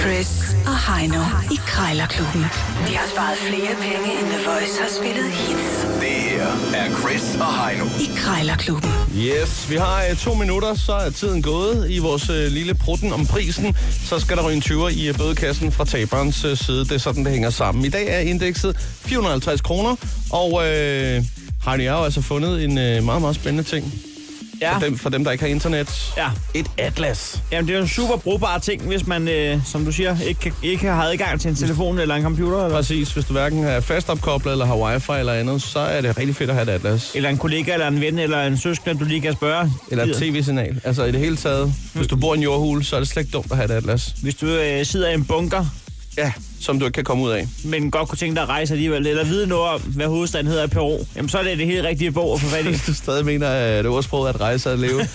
Chris og Heino i Krejlerklubben. De har sparet flere penge, end The Voice har spillet hits Det her er Chris og Heino. i Krejlerklubben. Yes, vi har øh, to minutter, så er tiden gået i vores øh, lille prutten om prisen. Så skal der ryge en 20'er i øh, bødekassen fra taberens øh, side. Det er sådan, det hænger sammen. I dag er indekset 450 kroner, og øh, Heidi har jo altså fundet en øh, meget, meget spændende ting. Ja. For, dem, for dem, der ikke har internet. Ja. Et atlas. Jamen, det er jo en super brugbar ting, hvis man, øh, som du siger, ikke, kan- ikke har adgang til en telefon eller en computer, eller, Præcis, hvis du hverken er fastopkoblet eller har wifi eller andet, så er det rigtig fedt at have et atlas. eller en kollega, eller en ven, eller en søskende, du lige kan spørge. Eller et tv-signal. Altså i det hele taget, hvis du bor i en jordhule, så er det slet ikke dumt at have et atlas. Hvis du øh, sidder i en bunker, Ja. Som du ikke kan komme ud af. men godt kunne tænke dig at rejse alligevel, eller vide noget om, hvad hovedstaden hedder i Peru, jamen så er det det helt rigtige bog at få fat i. Hvis du stadig mener, at ordsproget at rejse og at leve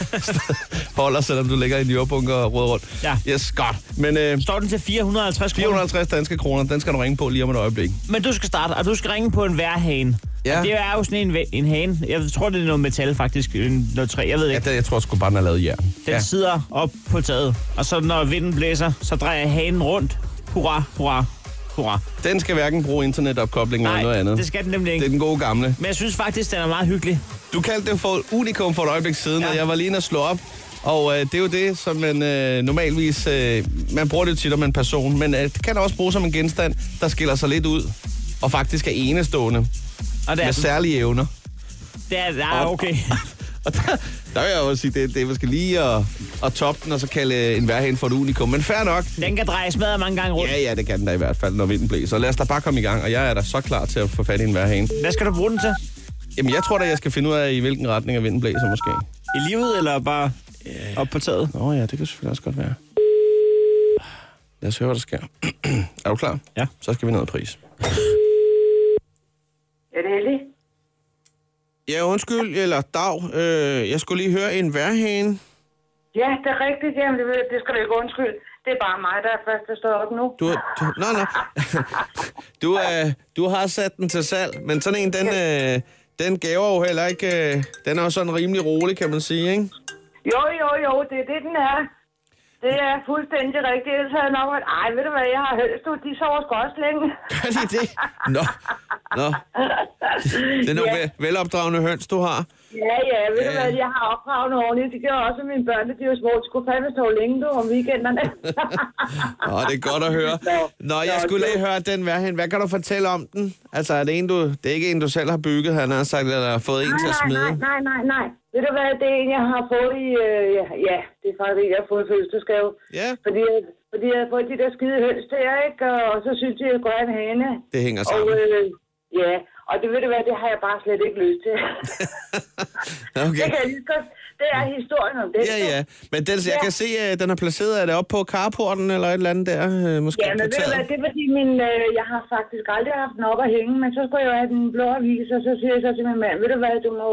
holder, selvom du ligger i en jordbunker og råder rundt. Ja. Yes, godt. Men øh, Står den til 450 kroner, 450 danske kroner, den skal du ringe på lige om et øjeblik. men du skal starte, og du skal ringe på en værhane. Ja. Og Det er jo sådan en, væ- en hane. Jeg tror, det er noget metal, faktisk. en- Noget træ, jeg ved Ja, ikke. det, jeg tror sgu bare, den er lavet i jern. Den ja. sidder op på taget, og så når vinden blæser, så drejer hanen rundt. Hurra, hurra, hurra. Den skal hverken bruge internetopkobling eller noget andet. det skal den nemlig det ikke. er den gode gamle. Men jeg synes faktisk, den er meget hyggelig. Du kaldte den for et unikum for et øjeblik siden, ja. Ja. og jeg var lige inde at slå op. Og øh, det er jo det, som man øh, normalvis... Øh, man bruger det jo tit om en person, men øh, det kan også bruges som en genstand, der skiller sig lidt ud. Og faktisk er enestående. Og det er, Med den. særlige evner. det er, ja, Op. okay. Ah, Og der, der vil jeg også sige, det, det er måske lige at, at toppe den, og så kalde øh, en værhane for et unikum. Men fair nok. Den kan dreje smadret mange gange rundt. Ja, ja, det kan den da i hvert fald, når vinden blæser. Lad os da bare komme i gang, og jeg er da så klar til at få fat i en værhane. Hvad skal du bruge den til? Jamen, jeg tror da, jeg skal finde ud af, i hvilken retning at vinden blæser måske. I livet, eller bare op på taget? Nå ja, det kan selvfølgelig også godt være. Lad os høre, hvad der sker. er du klar? Ja. Så skal vi ned i pris. Er det heldigt? Ja, undskyld, eller dag. Øh, jeg skulle lige høre en værhane. Ja, det er rigtigt. Jamen, det, det skal du ikke undskylde. Det er bare mig, der er først, der står op nu. Du, du, nej, nej. Du, øh, du har sat den til salg, men sådan en, den, øh, den gaver jo heller ikke... Øh, den er jo sådan rimelig rolig, kan man sige, ikke? Jo, jo, jo, det er det, den er. Det er fuldstændig rigtigt. Ellers havde jeg nok været, ej, ved du hvad, jeg har høst, du, de sover sgu også længe. Gør de det? Nå, nå. Det er nogle ja, vel, velopdragende høns, du har. ja, ja, ved du Ja. hvad, jeg har opdraget ordentligt. Det gjorde også at mine børn, da de var små. De skulle fandme stå længe, du, om weekenderne. Åh, det er godt at høre. Nå, jeg skulle lige høre den værhen. Hvad kan du fortælle om den? Altså, er det, en, du, det er ikke en, du selv har bygget, han har sagt, eller har fået en til at nej, nej, smide? nej, nej, nej. Ved du hvad, det er en, jeg har fået i... Øh, ja, ja, det er faktisk en, jeg har fået i fødselsdagsgave. Ja. Fordi, jeg- fordi jeg har fået de der skide høns der, ikke? Og, og så synes jeg, at jeg skulle have en hane. Det hænger Og, sammen. øh, ja, og det ved du hvad, det har jeg bare slet ikke lyst til. Det Okay. kan øh, jeg lige så godt. Det er historien om det. Ja, ja. Men den, jeg Ja. kan se, at den er placeret, er det oppe på carporten eller et eller andet der? øh, Måske Ja, på men ved du hvad, taget? det er fordi, min, øh, jeg har faktisk aldrig haft den op at hænge, men så skulle jeg jo have den blå avis, og så siger jeg så til min mand, ved du hvad, du må,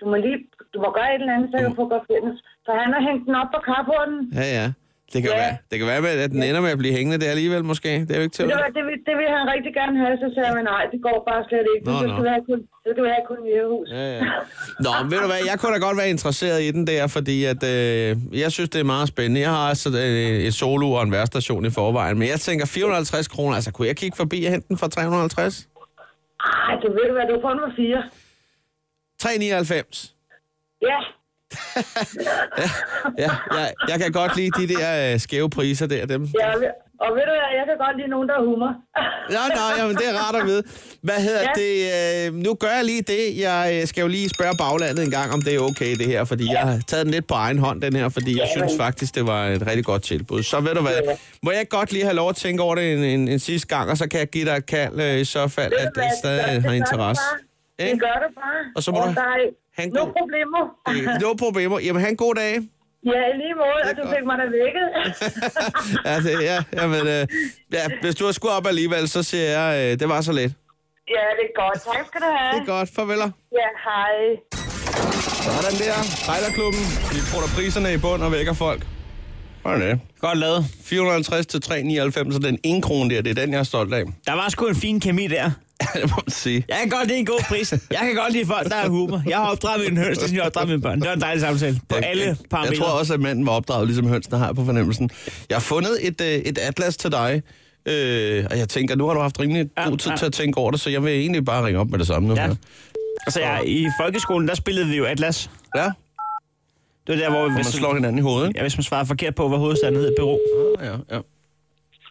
du må lige, du må gøre et eller andet, så jeg kan få godt fælles. Så han har hængt den op på carporten. Ja, ja. Det kan, Ja. være, det kan være, at den ender med at blive hængende der alligevel, måske. Det er jo ikke til. Ved du at- hvad, det vil, det vil han rigtig gerne have, så sagde jeg, nej, det går bare slet ikke. Nå, Nå, så nå. skal vi have kun, så skal vi have kun Jægerhus. Ja. Ja, ja. Nå, men ved du hvad, jeg kunne da godt være interesseret i den der, fordi at, øh, jeg synes, det er meget spændende. Jeg har også øh, et solo og en værstation i forvejen, men jeg tænker 450 kroner, altså kunne jeg kigge forbi og hente den for 350? Ej, det ved du hvad, du får nummer fire. 399. Ja, Ja, jeg, jeg kan godt lide de der øh, skæve priser der, dem. ja og ved- og ved du hvad, jeg kan godt lide nogen, der har humor. Ja, nej, jamen, det er rart at vide. Hvad hedder det? Øh, nu gør jeg lige det. Jeg øh, skal jo lige spørge baglandet en gang, om det er okay det her, fordi jeg har taget den lidt på egen hånd, den her, fordi jeg synes faktisk, det var et rigtig godt tilbud. Så ved du hvad, må jeg godt lige have lov at tænke over det en, en, en sidste gang, og så kan jeg give dig et kald øh, i så fald, Ved at du det hvad, stadig har det gør du interesse. bare. Det Ikke? gør du bare. Og så må du dig. have en No god- problemo. Øh, No problemer. Jamen, have en god dag. Ja, i lige måde, og du godt. fik mig da vækket. ja, det, Altså, ja, jamen, øh, ja, hvis du har skudt op alligevel, så siger jeg, øh, det var så let. ja, det er godt. Tak skal du have. Det er godt. Farveler. Ja, hej. Sådan der. Rejlerklubben. Vi prutter priserne i bund og vækker folk. Hvordan er det? Godt lavet. 450 til 399, så den ene krone der, det er den, jeg er stolt af. Der var sgu en fin kemi der. det må man sige. Jeg kan godt lide en god pris. Jeg kan godt lide folk, der er humor. Jeg har opdraget mine høns, ligesom jeg har opdraget mine børn. Det var en dejlig samtale. På Jeg- alle jeg- parametre. Jeg tror også, at manden var opdraget, ligesom hønsene har jeg på fornemmelsen. Jeg har fundet et, øh, et atlas til dig, øh, og jeg tænker, nu har du haft rimelig Ja, god tid ja. til at tænke over det, så jeg vil egentlig bare ringe op med det samme nu. Ja. her. Altså, jeg, i folkeskolen, der spillede vi jo Atlas. ja. Det var der, hvor Og man hvis, slår hinanden i hovedet. ikke? ja, hvis man svarer forkert på, hvad hovedstaden hed, Peru. Ja, ja.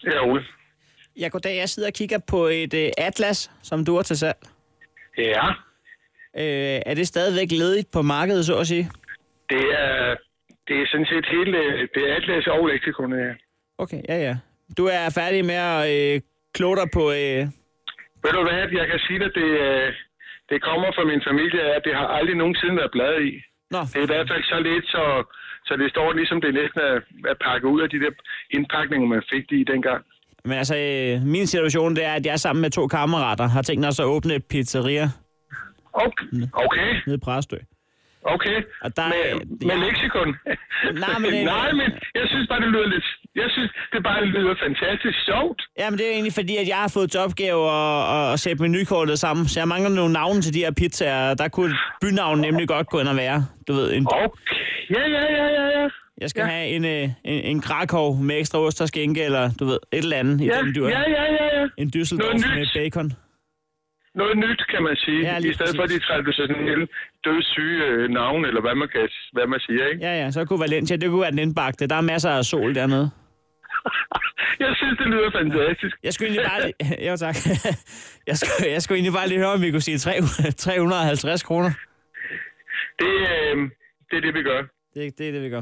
Det er Ole. Ja, goddag. Jeg sidder og kigger på et øh, Atlas, som du har til salg. Ja, Øh, er det stadigvæk ledigt på markedet, så at sige? det er, det er sådan set hele... øh, Det er Atlas og øh. leksikonet, ja. Okay, ja, ja. Du er færdig med at øh, kloge dig på... Øh, Ved du hvad, jeg kan sige dig, det, øh, det kommer fra min familie, at det har aldrig nogensinde været bladet i. Nå, Det er i hvert fald så lidt, så, så det står ligesom, det er næsten at, at pakke ud af de der indpakninger, man fik det i dengang. men altså, øh, min situation det er, at jeg sammen med to kammerater har tænkt os at åbne et pizzeria Okay, okay, nede i Præstø. okay. Og der er- med, med ja. leksikon. Nej, men øh, det- Nej, men jeg synes bare, det lyder lidt... Jeg synes, det bare lyder fantastisk sjovt. Jamen, det er egentlig fordi, at jeg har fået til opgave at, at, at sætte menukortet sammen, så jeg mangler nogle navne til de her pizzaer, og der kunne et bynavn nemlig godt gå ind og være. Du ved, en, Okay, ja, ja, ja, ja, ja. jeg skal have en, øh, en, en Krakow med ekstra ost og skænke, eller du ved, et eller andet i Ja, den dyr. ja, ja, ja, ja. En Noget Düsseldorf nyt. med bacon. Noget nyt, kan man sige, Ja, ja, lige i stedet for de præcis. traditionelle dødssyge øh, navne, eller hvad man, kan, hvad man siger, ikke? Ja, ja, så kunne Valencia, det kunne være den indbagte. Der er masser af sol dernede. Jeg synes, det lyder fantastisk. Jeg skulle egentlig bare... Lige... Jo, tak. Jeg skulle, jeg skulle egentlig bare lige høre, om vi kunne sige 300 350 kroner. Det, øh, det er det, vi gør. Det, det er det, vi gør.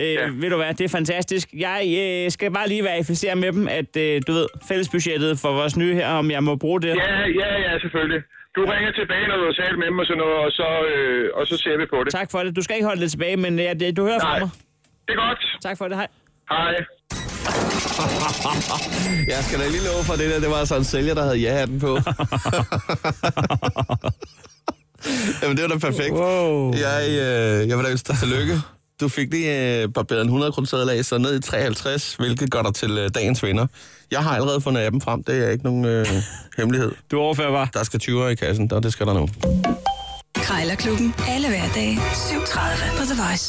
Øh, ja. Ja. Ved du hvad, det er fantastisk. Jeg øh, skal bare lige verificere med dem, at øh, du ved, fællesbudgettet for vores nye her, om jeg må bruge det. Ja, ja, ja, selvfølgelig. Du ringer tilbage, når du har talt med dem og sådan noget, og så, øh, og så ser vi på det. Tak for det. Du skal ikke holde det tilbage, men øh, det- du hører fra Nej. mig. Det er godt. Tak for det. Hej. Hej. Jeg skal da lige love for det der, det var altså en sælger, der havde ja-hatten på. Jamen, det var da perfekt. Wow. Jeg, øh, jeg vil da ønske dig tillykke. Du fik lige øh, barberet en 100 kroner af, så ned i 53, hvilket gør dig til øh, dagens vinder. Jeg har allerede fundet appen frem, det er ikke nogen øh, hemmelighed. Du overfører bare. Der skal 20'er i kassen, og det skal der nu. Krejlerklubben. Alle hverdage. 7.30 på The Voice.